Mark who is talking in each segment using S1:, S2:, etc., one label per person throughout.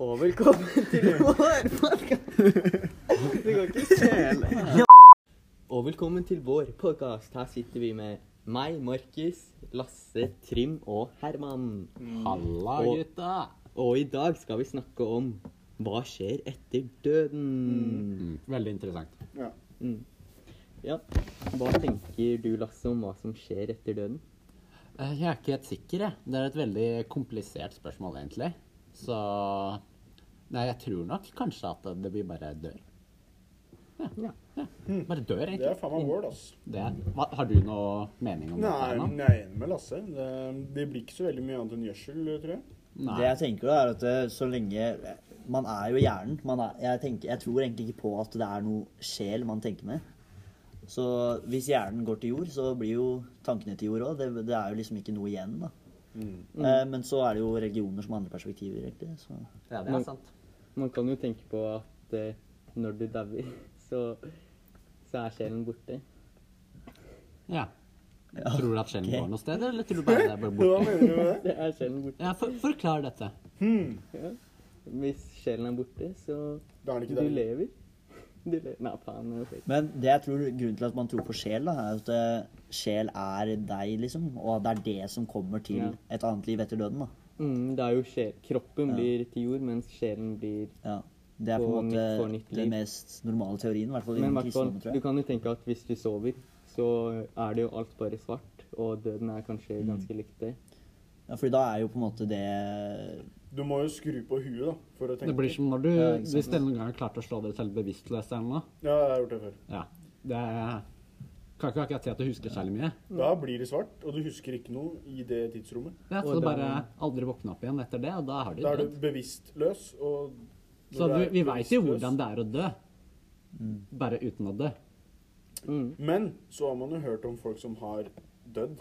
S1: Og velkommen til vår podkast. Det går ikke selv. Og velkommen til vår podkast. Her sitter vi med meg, Markus, Lasse, Trim og Herman.
S2: Halla,
S1: Og-
S2: gutta.
S1: Og i dag skal vi snakke om hva skjer etter
S2: Mm.
S1: døden.
S2: Veldig interessant.
S1: Ja, Hva tenker du, Lasse, om hva som skjer etter døden?
S2: Eh, Jeg er ikke helt sikker, jeg. Det er et veldig komplisert spørsmål, egentlig. Så Nei, jeg tror nok kanskje at det blir bare dør.
S1: Ja.
S2: Ja.
S3: Mm.
S2: Bare dør,
S4: Det
S2: egentlig.
S4: er faen meg word, ass.
S2: Det er... Hva, har du noe mening om
S4: Nei,
S2: dette?
S4: jeg
S2: Herman?
S4: er enig med Lasse. Det, det blir ikke så veldig mye annet enn gjødsel, tror jeg.
S2: Nei.
S3: Det jeg tenker da, er at eh, så lenge Man er jo hjernen. Man er, jeg, tenker, jeg tror egentlig ikke på at det er noe sjel man tenker med. Så hvis hjernen går til jord, så blir jo tankene til jord òg. Det, det er jo liksom ikke noe igjen, da.
S1: Mm.
S3: Eh, men så er det jo religioner som har andre perspektiver, egentlig. Så.
S5: Ja, det
S1: Men-
S5: er sant.
S1: Man kan jo tenke på at eh, når du dauer, så, så er sjelen borte.
S2: Ja. Tror du at sjelen
S3: ok.
S2: går noe sted, eller tror du bare det er bare
S4: Hva
S2: borte?
S4: mener du med det? Hmm,
S1: Det er sjelen borte.
S2: Ja, for, forklar dette.
S1: Hvis sjelen er borte, så
S4: Da er
S1: du
S4: den ikke der.
S1: lever. Du lever. Nei, faen. det var feil.
S3: Men det jeg tror grunnen til at man tror på sjel, da, er at eh, sjel er deg, liksom. Og at det er det som kommer til
S1: Ja.
S3: et annet liv etter døden, da.
S1: Mm, det er jo sjel. Kroppen blir til jord, mens sjelen blir
S3: Ja. Det er på
S1: Og
S3: en
S1: nytt- får
S3: måte
S1: nytt liv.
S3: den mest normale teorien, i hvert fall
S1: Men i
S3: innen
S1: hvert fall,
S3: kristendommen, tror jeg.
S1: du kan jo tenke at hvis du sover, så er det jo alt bare svart, og døden er kanskje
S3: Mm.
S1: ganske likt det.
S3: Ja, fordi da er jo på en måte det
S4: Du må jo skru på huet, da, for å tenke.
S2: Det blir som når du
S3: Ja, ikke sant,
S2: Hvis denne gangen klarte å slå deg selv bevisstløs eller noe.
S4: Ja, jeg har gjort det før.
S2: Ja. Det er- kan ikke akkurat si at du husker særlig mye.
S4: Da blir det svart, og du husker ikke noe i det tidsrommet.
S2: Ja, så
S1: Og
S2: du
S1: da-
S2: bare aldri våkne opp igjen etter det, og da har du
S4: Da er
S2: dødd.
S4: du bevisstløs, og når
S2: Så
S4: du
S2: du,
S4: er
S2: vi veit jo
S4: bevisstløs-
S2: hvordan det er å dø. Bare uten å dø.
S1: Mm.
S4: Men så har man jo hørt om folk som har dødd,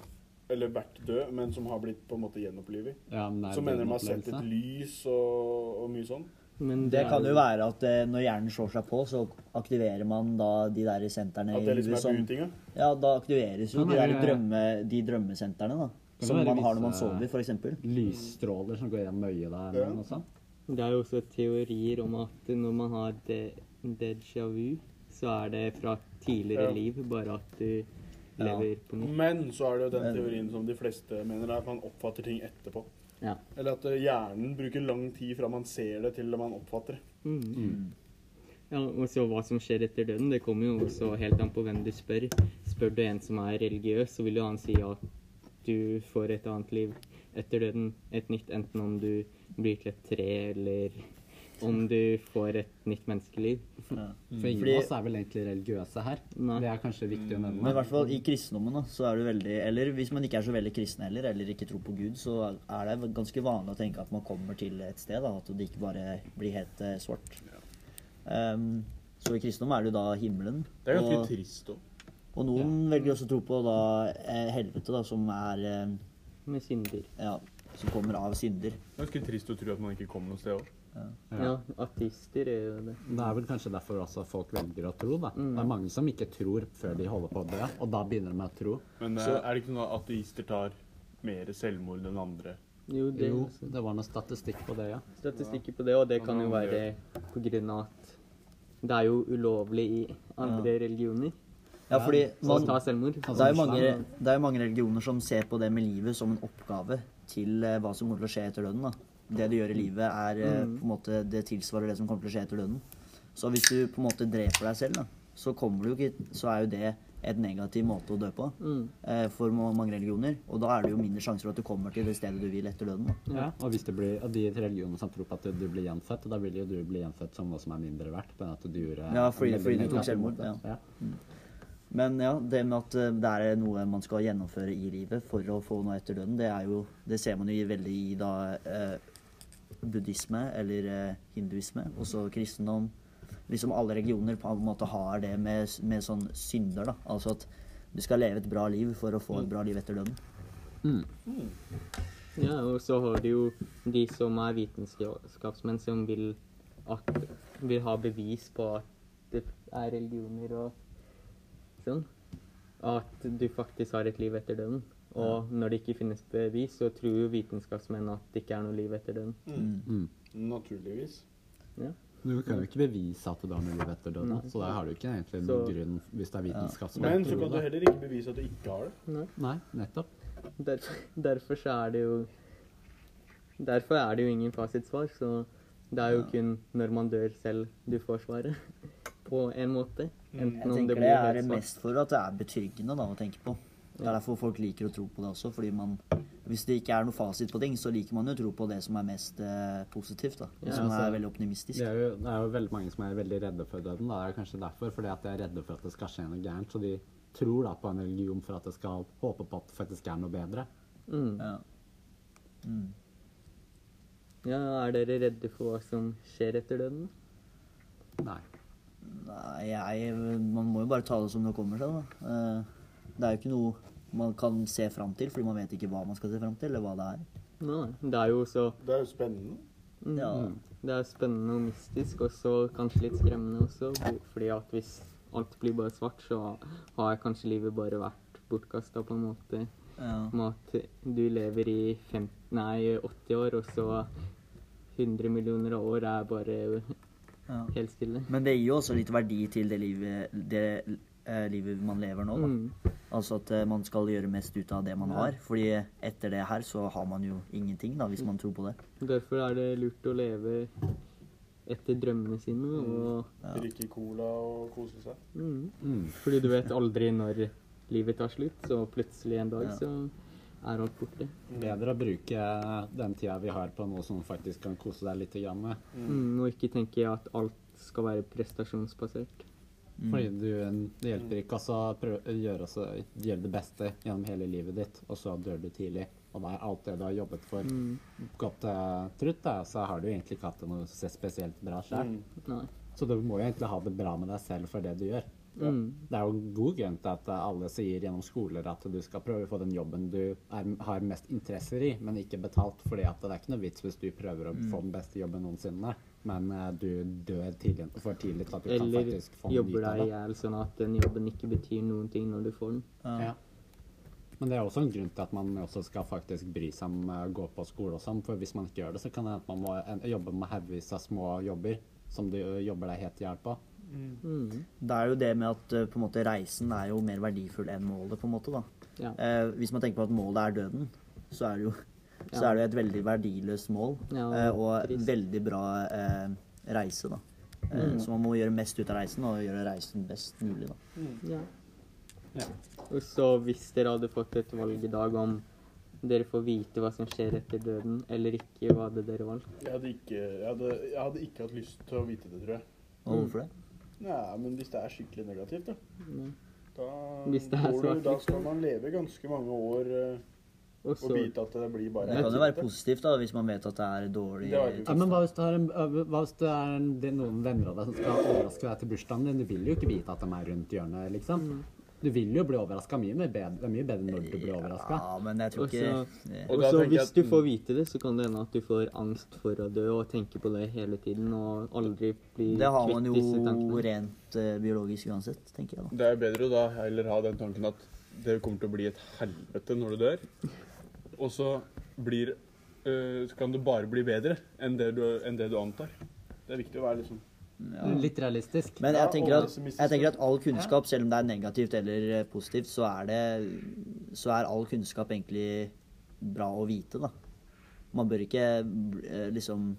S4: eller vært død, men som har blitt på en måte gjenopplivet.
S2: Ja, men det er
S4: Som mener de har
S2: en
S4: sett et
S2: opplevelse.
S4: lys og, og mye sånn.
S1: Men
S3: Det kan jo være at eh, når hjernen slår seg på, så aktiverer man da de der sentrene
S4: At det
S3: i
S4: liksom
S3: huet
S4: er
S3: som
S4: buetinga.
S3: Ja, da aktiveres jo
S2: Kan
S3: de der
S2: være-
S3: drømme, de drømmesentrene, da.
S2: Kan
S3: Som
S2: være
S3: man har når man
S2: visse-
S3: sover, for eksempel.
S2: Lysstråler som går gjennom øyet der.
S4: Ja.
S2: eller noe sånt.
S1: Det er jo også teorier om at når man har de- déjà vu, så er det fra tidligere
S4: Ja.
S1: liv, bare at du lever på nytt.
S4: Men så er det jo den teorien som de fleste mener, er at man oppfatter ting etterpå.
S1: Ja.
S4: Eller at eh, hjernen bruker lang tid fra man ser det, til man oppfatter det.
S1: Mm. Ja, og så hva som skjer etter døden, det kommer jo også helt an på hvem du spør. Spør du en som er religiøs, så vil jo han si at du får et annet liv etter døden, et nytt, enten om du blir til et tre, eller om du får et nytt menneskeliv.
S2: For ingen
S3: Mm. Fordi-
S2: av oss er vel egentlig religiøse her.
S1: Nei.
S2: Det er kanskje viktig å
S3: Men i
S2: nevne.
S3: hvert fall i kristendommen, da, så er du veldig Eller hvis man ikke er så veldig kristen heller, eller ikke tror på Gud, så er det ganske vanlig å tenke at man kommer til et sted, da. At det ikke bare blir helt eh, svart. Ehm, så i kristendom er det jo da himmelen. og-
S4: trist òg.
S3: Og noen velger også å tro på da eh, helvete, da, som er eh,
S1: Med synder.
S3: Ja, som kommer av synder.
S4: Ganske trist å tro at man ikke kom noe sted òg.
S2: Ja.
S1: Ja, ateister gjør jo det.
S2: Det er vel kanskje derfor også folk velger å tro. da. Det er mange som ikke tror før de holder på å dø, og da begynner de å tro.
S6: Men eh, er det ikke sånn at ateister tar mer selvmord enn andre?
S1: Jo, det
S2: Jo, det var noe statistikk på det, ja.
S1: statistikker på det, og det kan jo være på grunn av at det er jo ulovlig i andre religioner
S3: Ja, fordi
S1: å
S3: man, Altså,
S1: ta selvmord.
S3: det, er jo mange, det er jo mange religioner som ser på det med livet som en oppgave til eh, hva som kommer til å skje etter døden. da. Det du gjør i livet, er eh, på en måte Det tilsvarer det som kommer til å skje etter døden. Så hvis du på en måte dreper deg selv, da, så kommer du jo ikke Så er jo det et negativ måte å dø på eh, for ma- mange religioner. Og da er det jo mindre sjanser for at du kommer til det stedet du vil etter døden. da.
S2: Ja, og, hvis det blir, og de religionene som tror på at du blir gjenfødt, da vil jo du bli gjenfødt som noe som er mindre verdt. Men at du gjorde
S3: Ja, fordi-
S2: en veldig
S3: fordi du tok
S2: negativ
S3: selvmord,
S2: måte.
S3: ja.
S2: ja.
S3: Men ja, det med at eh, det er noe man skal gjennomføre i livet for å få noe etter døden, det er jo Det ser man jo i- veldig i da eh, buddhisme eller eh, hinduisme, og så kristendom. Liksom alle religioner på en måte har det med, s- med sånn synder, da. Altså at du skal leve et bra liv for å få et bra liv etter døden.
S1: Ja, og så har du jo de som er vitenskapsmenn, som vil, at, vil ha bevis på at det er religioner og sånn. At du faktisk har et liv etter døden. Og når det ikke finnes bevis, så tror jo vitenskapsmenn at det ikke er noe liv etter døden.
S4: Mm. Naturligvis.
S1: Ja.
S2: Du kan jo ikke bevise at det har noe liv etter døden,
S1: Nei.
S2: så der har du ikke egentlig noen
S1: Så-
S2: grunn hvis det er
S4: Men så kan du
S2: vitenskapsmenn.
S4: heller ikke bevise at du ikke har det.
S1: Nei.
S2: Nei, nettopp.
S1: Derfor, derfor så er det jo Derfor er det jo ingen fasitsvar, så det er jo kun når man dør selv, du får svaret. På en måte.
S3: Mm, Jeg
S1: Enten om det
S3: tenker
S1: blir
S3: det er
S1: helt svart.
S3: mest for at det er betryggende da, å tenke på. Det er derfor folk liker å tro på det også. fordi man, Hvis det ikke er noe fasit på ting, så liker man jo å tro på det som er mest eh, positivt. da,
S2: Ja,
S3: Som
S2: altså,
S3: er veldig
S2: Det
S3: optimistisk.
S2: er, jo, det er jo veldig mange som er veldig redde for døden. Da. Det er kanskje derfor, fordi at de er redde for at det skal skje noe gærent. Så de tror da på en religion for at de skal håpe på at det faktisk er noe bedre.
S1: Mm.
S3: Ja. Mm.
S1: Ja, er dere redde for hva som skjer etter døden?
S2: Nei.
S3: Nei, jeg, man må jo bare ta det som det kommer seg. da. Eh, Det er jo ikke noe man kan se fram til, fordi man vet ikke hva man skal se fram til, eller hva det er.
S1: Nei. Det er jo så
S4: Det er jo spennende.
S1: mm,
S3: Ja,
S1: Det er spennende og mystisk, og så kanskje litt skremmende også. hvor- Fordi at hvis alt blir bare svart, så har kanskje livet bare vært bortkasta på en måte.
S3: ja.
S1: om at du lever i fem, nei, 80 år, og så 100 millioner av år er bare
S3: Ja.
S1: helt stille.
S3: Men det gir jo også litt verdi til det livet, det eh, livet man lever nå. Da.
S1: Mm.
S3: Altså at eh, man skal gjøre mest ut av det man har. Fordi etter det her så har man jo ingenting, da, hvis man tror på det.
S1: Derfor er det lurt å leve etter drømmene sine. Og,
S4: Drikke cola og kose seg.
S1: mm.
S2: Mm.
S1: Fordi du vet aldri når livet tar slutt, så plutselig en dag så er alt borte.
S2: Bedre å bruke eh, den tida vi har på noe som faktisk kan kose deg litt grann med.
S1: Mm. Og ikke tenke at alt skal være prestasjonsbasert. Mm.
S2: Fordi du, det hjelper ikke altså, å prøve å gjøre, altså, gjøre det beste gjennom hele livet ditt, og så dør du tidlig. Og da er alt det du har jobbet for,
S1: Mm.
S2: gått til trutt, da, så har du egentlig ikke hatt det noe se- spesielt bra selv.
S1: Nei.
S2: Så du må jo egentlig ha det bra med deg selv for det du gjør.
S1: Mm.
S2: Det er jo god grunn til at alle sier gjennom skoler at du skal prøve å få den jobben du er, har mest interesser i, men ikke betalt. fordi at det er ikke noe vits hvis du prøver å
S1: Mm.
S2: få den beste jobben noensinne, men eh, du dør tidlig, for tidlig til at du kan
S1: Eller
S2: faktisk få
S1: jobber
S2: nyte av
S1: deg i
S2: det.
S1: hjel sånn at den jobben ikke betyr noen ting når du får den.
S2: Ja. Men det er også en grunn til at man også skal faktisk bry seg om å gå på skole og sånn, for hvis man ikke gjør det, så kan det hende at man må en- jobbe med haugevis av små jobber som du eh, jobber deg helt i hjel på.
S1: Mm.
S3: Det er jo det med at eh, på en måte, reisen er jo mer verdifull enn målet, på en måte. da.
S1: Ja.
S3: Eh, hvis man tenker på at målet er døden, så er det jo, så
S1: Ja.
S3: er det jo et veldig verdiløst mål.
S1: Ja,
S3: eh, og
S1: trist.
S3: veldig bra eh, reise, da. Eh, Så man må gjøre mest ut av reisen, og gjøre reisen best mulig, da.
S1: Ja.
S2: Ja.
S1: Og så hvis dere hadde fått et valg i dag om dere får vite hva som skjer etter døden eller ikke, hva hadde dere valgt?
S4: Jeg hadde, ikke, jeg, hadde, jeg hadde ikke hatt lyst til å vite det, tror jeg.
S3: Og hvorfor det?
S4: Nei, men hvis det er skikkelig negativt, da. Da,
S1: Mm. Hvis det er
S4: går du,
S1: svart,
S4: da
S1: liksom.
S4: skal man leve ganske mange år eh,
S1: Og
S4: og
S1: så
S4: vite at det blir bare
S3: Det kan jo være positivt da, hvis man vet at det er dårlig
S4: Det var jo-
S2: Ja, men hva hvis det er, en, hva hvis det er en, det er noen venner av deg som skal overraske deg til bursdagen din? Du vil jo ikke vite at de er rundt hjørnet, liksom. Du vil jo bli overraska mye, mer bedre- det er mye bedre når du blir overraska.
S3: Ja, men jeg tror
S1: Og så-
S3: ikke
S4: Og
S1: og så
S4: da tenker jeg
S1: hvis
S4: at-
S1: du får vite det, så kan det hende at du får angst for å dø og tenke på det hele tiden og aldri bli
S3: Det har man
S1: kvitt disse
S3: jo
S1: tankene.
S3: rent eh, biologisk uansett, tenker jeg da.
S6: Det er bedre å da heller ha den tanken at det kommer til å bli et helvete når du dør. Og så blir øh, Så kan det bare bli bedre enn det du, enn det du antar.
S4: Det er viktig å være litt
S6: liksom-
S4: sånn
S1: Mm.
S2: Litt realistisk.
S3: Men jeg
S4: Ja,
S3: tenker,
S4: og
S3: at,
S4: pessimistisk.
S3: jeg tenker at all kunnskap, selv om det er negativt eller eh, positivt, så er, det, så er all kunnskap egentlig bra å vite, da. Man bør ikke eh, liksom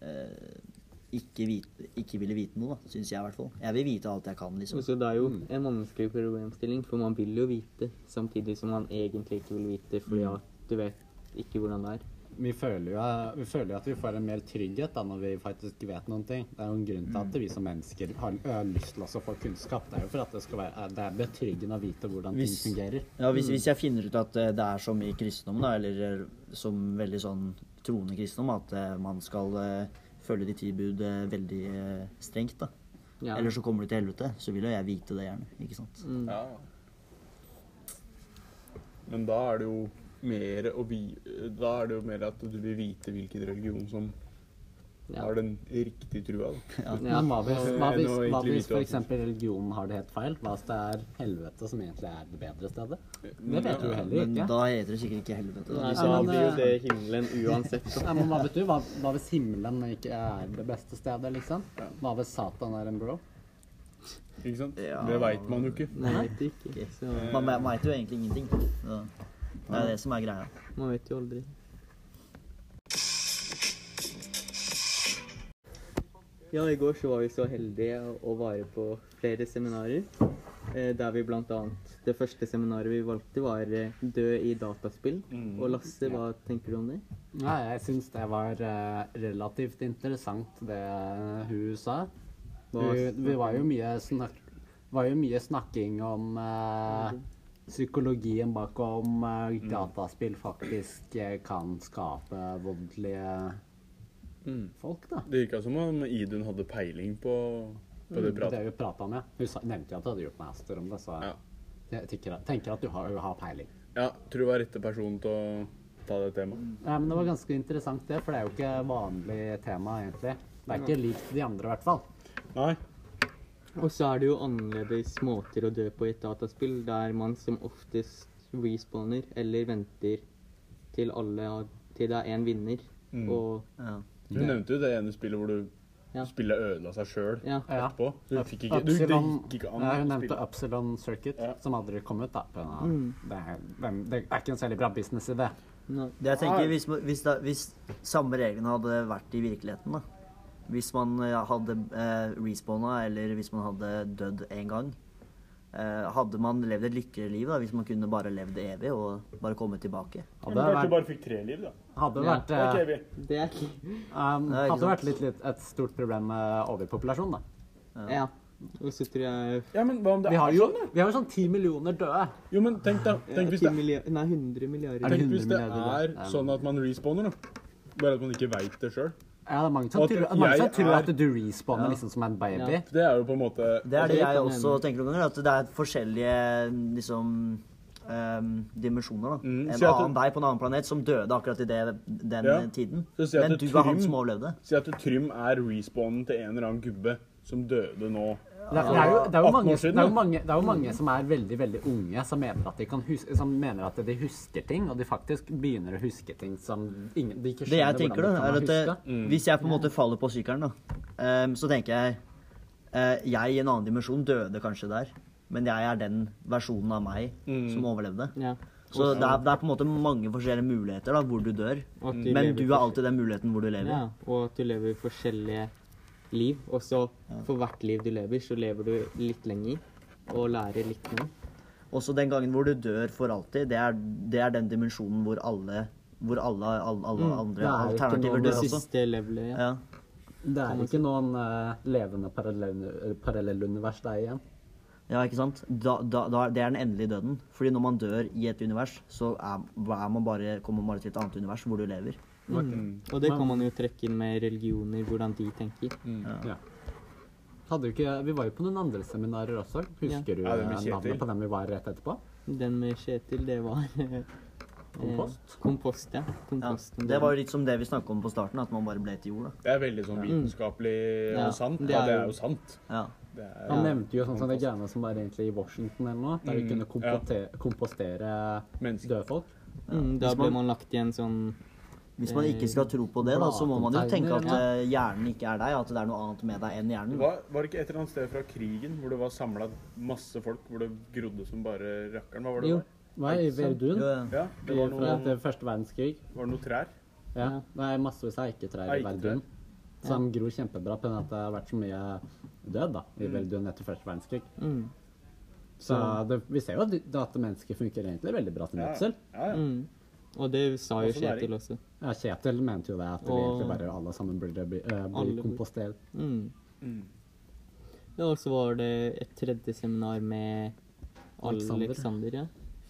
S3: eh, ikke, vite, ikke ville vite noe, da, syns jeg i hvert fall. Jeg vil vite alt jeg kan, liksom.
S1: Og så det er jo en vanskelig problemstilling, for man vil jo vite samtidig som man egentlig ikke vil vite fordi at du vet ikke hvordan det er.
S2: Vi føler, jo, eh, vi føler jo at vi får en mer trygghet da, når vi faktisk vet noen ting. Det er jo en grunn til
S3: Mm.
S2: at vi som mennesker har, har lyst til også å få kunnskap. Det er jo for at det skal være eh, Det er betryggende å vite hvordan ting
S3: Hvis-
S2: fungerer.
S3: Ja, hvis, hvis jeg finner ut at eh, det er som i kristendommen, da, eller eh, som veldig sånn troende kristendom, at eh, man skal eh, følge de ti bud eh, veldig eh, strengt, da.
S1: Ja. Mm.
S3: Eller så kommer du til helvete, så vil jo jeg vite det gjerne, ikke sant?
S2: Mm.
S6: Ja. Men da er det jo mer å vi, Da er det jo mer at du vil vite hvilken religion som
S1: Ja.
S6: har den riktige trua. Da.
S2: Men hva hvis,
S6: Ja, jeg
S2: hva hvis,
S6: må egentlig
S2: hva hvis
S6: vite hva
S2: f.eks. religionen har det helt feil? Hva hvis det er helvete som egentlig er det bedre stedet? Det vet du jo heller
S3: Men
S2: ikke.
S3: da heter det sikkert ikke helvete.
S1: Nei,
S3: Da.
S1: da
S2: men,
S1: blir jo
S2: eh,
S1: det himmelen uansett. da.
S2: Nei, men hva vet du? Hva, hva hvis himmelen ikke er det beste stedet, liksom? Hva hvis Satan er en bro?
S6: eh, Ikke sant?
S3: Ja.
S6: Det veit man jo ikke.
S1: Man vet ikke. Så
S3: Man, man veit jo egentlig ingenting. Så det er det som er greia.
S1: man vet jo aldri. Ja, i går så var vi så heldige å være på flere seminarer. eh, Der vi blant annet Det første seminaret vi valgte, var eh, Dø i dataspill. Og Lasse, hva tenker du om det?
S2: Nei, jeg syns det var eh, relativt interessant, det hun sa.
S1: Hva-
S2: Hun, vi var jo mye, snak, var jo mye snakking om eh,
S6: Mhm.
S2: psykologien bakom eh,
S6: Mm.
S2: dataspill faktisk eh, kan skape voldelige
S6: Mm.
S2: folk, da.
S6: Det virka som om Idun hadde peiling på, på det
S2: Mm, Det
S6: pratet.
S2: vi prata om, ja. Hun sa, nevnte jo at hun hadde gjort master om det, så
S6: Ja.
S2: jeg tenker, tenker at du har, hun har peiling.
S6: Ja, tror jeg var rette person til å ta det temaet.
S2: Ja, men det var ganske interessant, det, for det er jo ikke vanlig tema, egentlig. Det er ikke likt de andre, i hvert fall.
S6: Nei.
S1: Og så er det jo annerledes måter å dø på i et dataspill, der man som oftest respawner eller venter til alle har- til det er én vinner. Og
S3: Ja.
S6: Hun nevnte jo det ene spillet hvor du
S1: Ja.
S6: spillet ødela seg sjøl
S1: ja.
S2: Ja.
S6: etterpå. Du fikk ikke, du, det
S2: Upsilon,
S6: gikk ikke an
S2: ja, hun
S6: å
S2: nevnte
S6: spille.
S2: Upsilon Circuit,
S6: Ja.
S2: som aldri kom ut. da. på grunn av- Det, er, hvem- det er ikke en særlig bra businessidé.
S1: Nå,
S3: Det jeg
S6: Ah.
S3: tenker, hvis, man- hvis, da, hvis samme reglene hadde vært i virkeligheten, da Hvis man eh, hadde eh, respawna, eller hvis man hadde dødd én gang eh, Hadde man levd et lykkeligere liv da, hvis man kunne bare levd evig og bare kommet tilbake?
S2: Hadde
S4: Men kanskje du
S2: vært,
S4: bare fikk tre liv, da.
S2: hadde
S1: Ja.
S2: vært,
S4: Det er
S2: eh,
S4: ikke evig.
S1: det er ikke
S2: um,
S3: Nei, ikke
S2: hadde
S3: sant.
S2: vært litt, litt et stort problem med overpopulasjon, da.
S1: Ja. Og så tror jeg
S6: Ja, men hva om det
S2: Vi har
S6: er
S2: jo
S6: sånn, da?
S2: vi har jo sånn ti millioner døde.
S6: Jo, men tenk da. Tenk hvis
S1: 10
S6: det
S1: milliard, Nei, 100 milliarder.
S2: det
S6: Tenk hvis det
S2: 100
S6: er
S2: milliarder, da? Ja.
S6: sånn at man respawner, da. Bare at man ikke veit det sjøl.
S2: Ja, det er mange som
S6: Og at
S2: tror, mange som
S6: jeg
S2: tror
S6: er-
S2: at du respawner liksom som en baby.
S1: Ja.
S6: Det er jo på en måte
S3: Det er
S1: det
S3: det
S1: kan
S3: jeg
S1: hende.
S3: også tenker noen ganger, at det er forskjellige liksom ehm, dimensjoner. da.
S6: Mm,
S3: En
S6: si at
S3: annen
S6: det-
S3: deg på en annen planet som døde akkurat i det, den
S6: Ja.
S3: tiden.
S6: Så si at
S3: Men
S6: det
S3: du er han
S6: Trym-
S3: som overlevde.
S6: Si at Trym er respawnen til en eller annen gubbe som døde nå.
S2: Det, det, er jo, det, er
S6: 18
S2: jo
S6: år
S2: mange,
S6: siden,
S2: det, er jo
S6: da.
S2: mange, det er jo mange som er veldig veldig unge, som mener at de, kan hus som mener at de husker ting. Og de faktisk begynner å huske ting som ingen, de ikke
S3: Det jeg
S2: skjønner
S3: tenker, da, er
S2: hvordan
S3: at
S2: de kan
S3: eh,
S2: huske.
S3: hvis jeg på en måte
S1: Mm.
S3: faller på sykkelen, da, ehm, så tenker jeg eh, Jeg i en annen dimensjon døde kanskje der, men jeg er den versjonen av meg
S2: Mm.
S3: som overlevde.
S1: Ja.
S3: Så det er, det er på en måte mange forskjellige muligheter da, hvor du dør,
S1: Og at du
S3: men
S1: lever
S3: du er alltid den muligheten hvor du lever.
S1: Ja, og at du lever forskjellige liv. Og så for hvert liv du lever, så lever du litt lenger og lærer litt mer.
S3: Også den gangen hvor du dør for alltid, det er, det er den dimensjonen hvor alle, hvor alle, alle, alle
S2: det er
S3: andre
S2: ikke noe-
S3: alternativer
S1: Mm. Det
S3: dør også.
S1: siste levelet, ja.
S3: Ja.
S2: Det er ikke noen eh, levende parallell- parallellunivers der igjen.
S3: ja, ikke sant? Da, da, da, det er den endelige døden. Fordi når man dør i et univers, så er, er man bare, kommer man bare til et annet univers hvor du lever.
S1: Og det kan man jo trekke inn med religioner, hvordan de tenker.
S2: Ja. Hadde jo ikke, vi var jo på noen andre seminarer også. Husker du
S6: Ja, det med
S2: eh,
S6: Kjetil.
S2: navnet på dem vi var rett etterpå?
S1: Den med Kjetil, det var eh,
S2: Kompost?
S1: Kompost, ja.
S3: Ja.
S1: Komposten.
S3: Det var jo litt som det vi snakket om på starten, at man bare ble til jord. Da.
S6: Det er veldig sånn vitenskapelig
S1: Ja,
S6: og sant.
S1: det
S6: Ja,
S1: er
S6: det
S1: jo-
S6: er jo sant.
S3: Ja.
S6: Det er,
S2: Han nevnte jo sånn som det greiene som var egentlig i Washington eller noe, der de kunne kompote- kompostere
S6: Mm. Mennesker.
S2: døde folk.
S1: mm, Da
S3: Hvis
S1: ble
S3: man-
S1: man lagt i en sånn
S3: Hvis man ikke skal tro på det, da, så må man jo tenke at
S2: Ja.
S3: eh, hjernen ikke er deg, at det er noe annet med deg enn
S6: det
S3: hjernen.
S6: var, var det ikke et eller annet sted fra krigen hvor det var samla masse folk, hvor det grodde som bare rakkeren? Hva var det?
S1: Jo.
S6: der?
S2: Hva er i Verdun?
S3: Jo, ja.
S6: Ja, det var
S2: Fra
S6: noe,
S2: etter første verdenskrig.
S6: var det noe trær.
S2: Ja, det er massevis av eiketrær i
S6: Eiketrær.
S2: Verdun. Som gror kjempebra på grunn av at det har vært så mye død da, i Verdun etter første verdenskrig.
S1: mm,
S2: Så det, vi ser jo at at mennesker funker egentlig veldig bra til
S6: Ja.
S2: gjødsel.
S6: Ja, ja.
S1: mm. Og det sa jo
S6: Også næring.
S1: Kjetil også.
S2: Ja, Kjetil mente jo det, at vi
S1: Og-
S2: egentlig bare alle sammen burde bli, eh, bli
S1: Alle burde-
S2: kompostert.
S1: Mm. Ja, og så var det et tredje seminar med
S2: Alexander.
S1: Alexander, ja.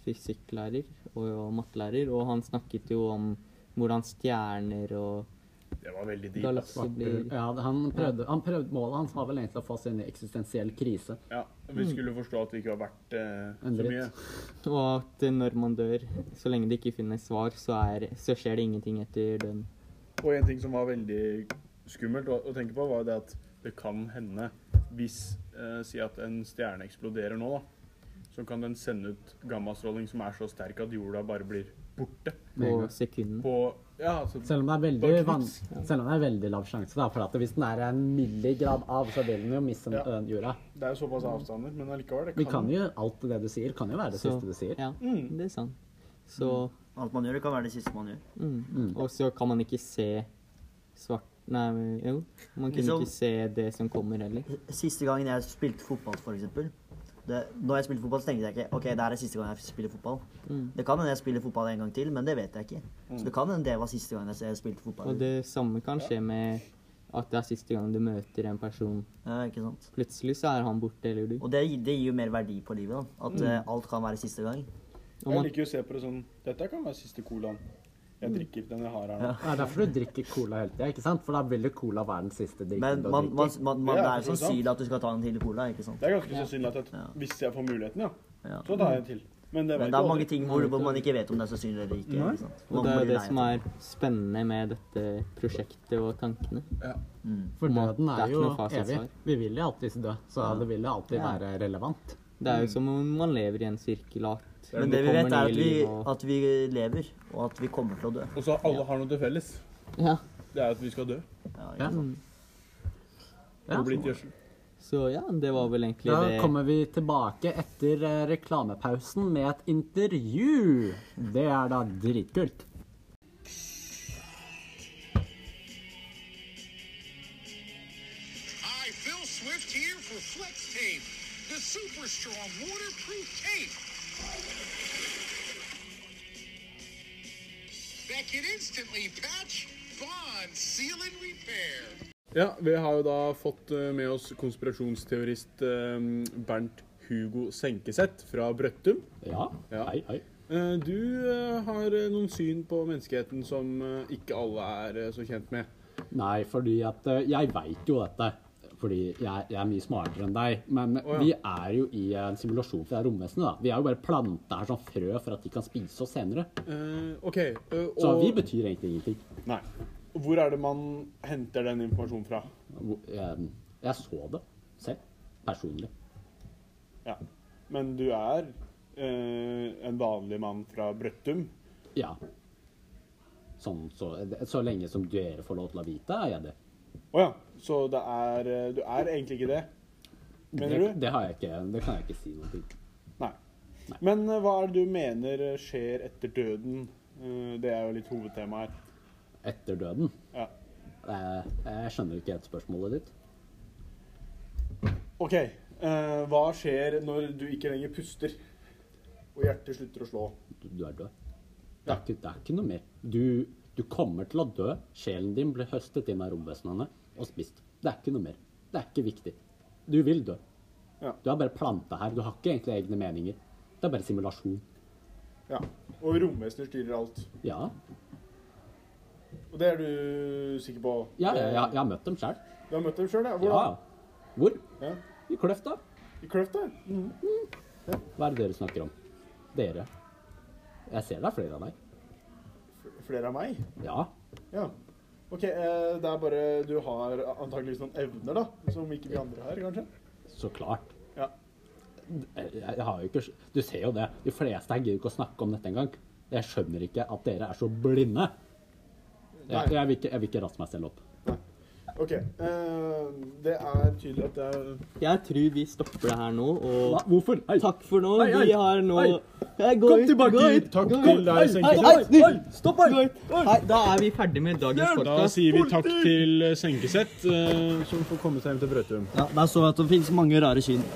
S1: fysikklærer og, og mattelærer, og han snakket jo om hvordan stjerner og
S6: Det var veldig altså. deep. ass.
S1: galakser blir
S2: Ja, han prøvde, han prøvde, målet hans var vel egentlig å få oss inn i eksistensiell krise.
S6: Ja, Vi
S1: Mm.
S6: skulle forstå at vi ikke var verdt eh,
S2: En
S6: så mye.
S2: dritt.
S1: Og at eh, når man dør, så lenge det ikke finnes svar, så, er, så skjer det ingenting etter døden.
S6: Og en ting som var veldig skummelt å, å tenke på, var det at det kan hende Hvis eh, Si at en stjerne eksploderer nå, da. Så kan den sende ut gammastråling som er så sterk at jorda bare blir borte.
S1: På
S2: Mega.
S1: sekunden.
S6: På Ja, altså
S2: Selv om det er
S6: Bare
S2: veldig, van selv om det er veldig lav sjanse, da, for at hvis den er en milligrad av, så vil den jo miste
S4: Ja.
S2: den øh, jorda.
S4: Det er jo såpass avstander, men allikevel.
S2: Vi kan jo alt det du sier, kan jo være det
S1: Så-
S2: siste du sier.
S1: Ja, det er sant. Så
S3: Alt man gjør, det kan være det siste man gjør.
S1: mm. Og så kan man ikke se svart Nei, men jo. Man kunne
S3: Liksom-
S1: ikke se det som kommer heller.
S3: Siste gangen jeg spilte fotball, for eksempel det, Når jeg spilte fotball, så tenkte jeg ikke Ok, det her er siste gang jeg spiller fotball.
S1: Mm.
S3: Det kan hende jeg spiller fotball en gang til, men det vet jeg ikke. Så det kan hende det var siste gang jeg spilte fotball.
S1: Og det samme kan skje med at det er siste gang du møter en person.
S3: Ja, ikke sant?
S1: Plutselig så er han borte, eller du.
S3: Og det, det gir jo mer verdi på livet, da.
S4: Mm.
S3: At eh, alt kan være siste gang.
S1: Og
S4: Jeg
S1: man,
S4: liker jo å se på det sånn Dette kan være siste colaen. Jeg drikker den jeg har her nå.
S3: Mm. Ja.
S2: Det er derfor du drikker cola hele tida, ikke sant? For da vil jo cola være den siste drikken
S3: Men
S2: du
S3: man, man,
S2: drikker.
S3: man, man,
S4: Ja,
S3: det
S4: for det er
S3: er
S4: sant.
S3: sannsynlig at du skal ta en til cola, ikke sant?
S4: Det er ganske sannsynlig at jeg,
S3: Ja.
S4: hvis jeg får muligheten, ja,
S3: Ja.
S4: så tar jeg en til. Men det vet
S3: Men det
S4: jeg
S3: er mange
S4: aldri.
S3: ting hvor, hvor man ikke vet om det er sannsynlig eller ikke.
S4: Nei.
S3: ikke
S1: og
S3: sant?
S1: det
S3: Man
S1: er jo
S3: blir
S1: det
S3: lei
S1: som
S3: av
S1: er spennende med dette prosjektet og tankene.
S2: For
S1: man-
S2: døden
S1: det er
S2: er
S1: ikke
S2: jo
S1: noe fasitsvar.
S2: evig. Vi vil jo alltids dø, så det vil jo alltid
S1: Ja.
S2: være relevant.
S1: Det er jo som om man lever i en sirkelat.
S3: Men det vi
S1: kommer
S3: vet, er
S1: nye
S3: at vi,
S1: liv og-
S3: at vi lever, og at vi kommer til å dø.
S6: Og så alle har noe til felles.
S1: Ja,
S6: Det er at vi skal dø.
S3: Ja, ikke
S2: Ja.
S1: Mm.
S3: sant?
S2: Ja.
S6: Og bli til gjødsel.
S1: så ja, det var vel egentlig
S2: Da
S1: det.
S2: kommer vi tilbake etter eh, reklamepausen med et intervju. Det er da dritkult.
S5: Hi, Phil Swift here for Flex Tape, the super strong waterproof tape that can instantly patch, bond, seal, and repair.
S6: Ja, vi har jo da fått eh, med oss konspirasjonsteorist eh, Bernt Hugo Senkeseth fra Brøttum.
S2: Ja.
S6: Ja.
S2: Hei, hei.
S6: Eh, Du eh, har eh, noen syn på menneskeheten som eh, ikke alle er eh, så kjent med.
S2: Nei, fordi at eh, jeg veit jo dette. Fordi jeg, jeg er mye smartere enn deg. Men
S6: ja.
S2: vi er jo i en simulasjon for det her romvesenet, da. Vi er jo bare planta her som frø for at de kan spise oss senere.
S6: Eh, OK. eh, og
S2: Så vi betyr egentlig ingenting.
S6: Nei.
S4: Hvor er det man henter den informasjonen fra?
S2: Hvor- eh, Jeg så det selv. Personlig.
S4: Ja. Men du er eh, en vanlig mann fra Brøttum.
S2: Ja. Sånn, så, så lenge som dere får lov til å vite, er jeg det.
S4: Å ja, så det er eh, Du er egentlig ikke det? Mener
S2: det,
S4: du?
S2: Det, har jeg ikke, det kan jeg ikke si noe til.
S4: Nei. Men eh, hva er det du mener eh, skjer etter døden? Eh, det er jo litt hovedtema her.
S2: Etter døden.
S4: Ja.
S2: Eh, Jeg skjønner ikke helt spørsmålet ditt.
S4: OK. eh, hva skjer når du ikke lenger puster, og hjertet slutter å slå?
S2: Du, du er død. Det er, ikke, det er ikke noe mer. Du, du kommer til å dø. Sjelen din blir høstet inn av romvesenene og spist. Det er ikke noe mer. Det er ikke viktig. Du vil dø.
S4: Ja.
S2: Du er bare planta her. Du har ikke egentlig egne meninger. Det er bare simulasjon.
S4: Ja. Og romvesener styrer alt.
S2: Ja,
S4: Og det er du sikker på?
S2: ja, ja, ja jeg har møtt dem sjøl.
S4: Du har møtt dem sjøl, ja? Hvor
S2: Ja.
S4: da?
S2: Hvor?
S4: Ja.
S2: I Kløfta.
S4: I Kløfta? Mm.
S2: Hva er det dere snakker om? Dere. Jeg ser det er flere av deg.
S4: F- Flere av meg?
S2: Ja.
S4: Ja. OK, eh, det er bare Du har antakeligvis noen evner, da, som ikke vi andre har, kanskje?
S2: Så klart.
S4: Ja.
S2: Jeg, jeg har jo ikke skj- Du ser jo det. De fleste her gidder ikke å snakke om dette engang. Jeg skjønner ikke at dere er så blinde.
S4: Nei.
S2: Jeg, jeg, vil, ikke, jeg vil ikke raste meg selv opp.
S4: OK. eh, det er tydelig at det er
S1: Jeg tror vi stopper det her nå, og
S2: Hvorfor? Hei.
S1: takk for nå.
S2: Hei, hei.
S1: Vi har nå
S2: Hei.
S1: Hei, gå
S2: Kom
S1: hit,
S2: tilbake
S1: gå
S2: hit.
S1: hit.
S4: Takk
S2: Gå
S4: til
S2: hit.
S4: deg,
S2: Hei,
S4: Senke.
S2: hei,
S1: Hei,
S2: hei,
S1: hei,
S2: hei.
S1: stopp her! Hei, da er vi ferdig med dagens
S6: Da
S1: podcast.
S6: sier vi takk til eh, Senkeseth, eh, som får komme seg hjem til Brøttum.
S3: Ja, der så vi at det finnes mange rare syn.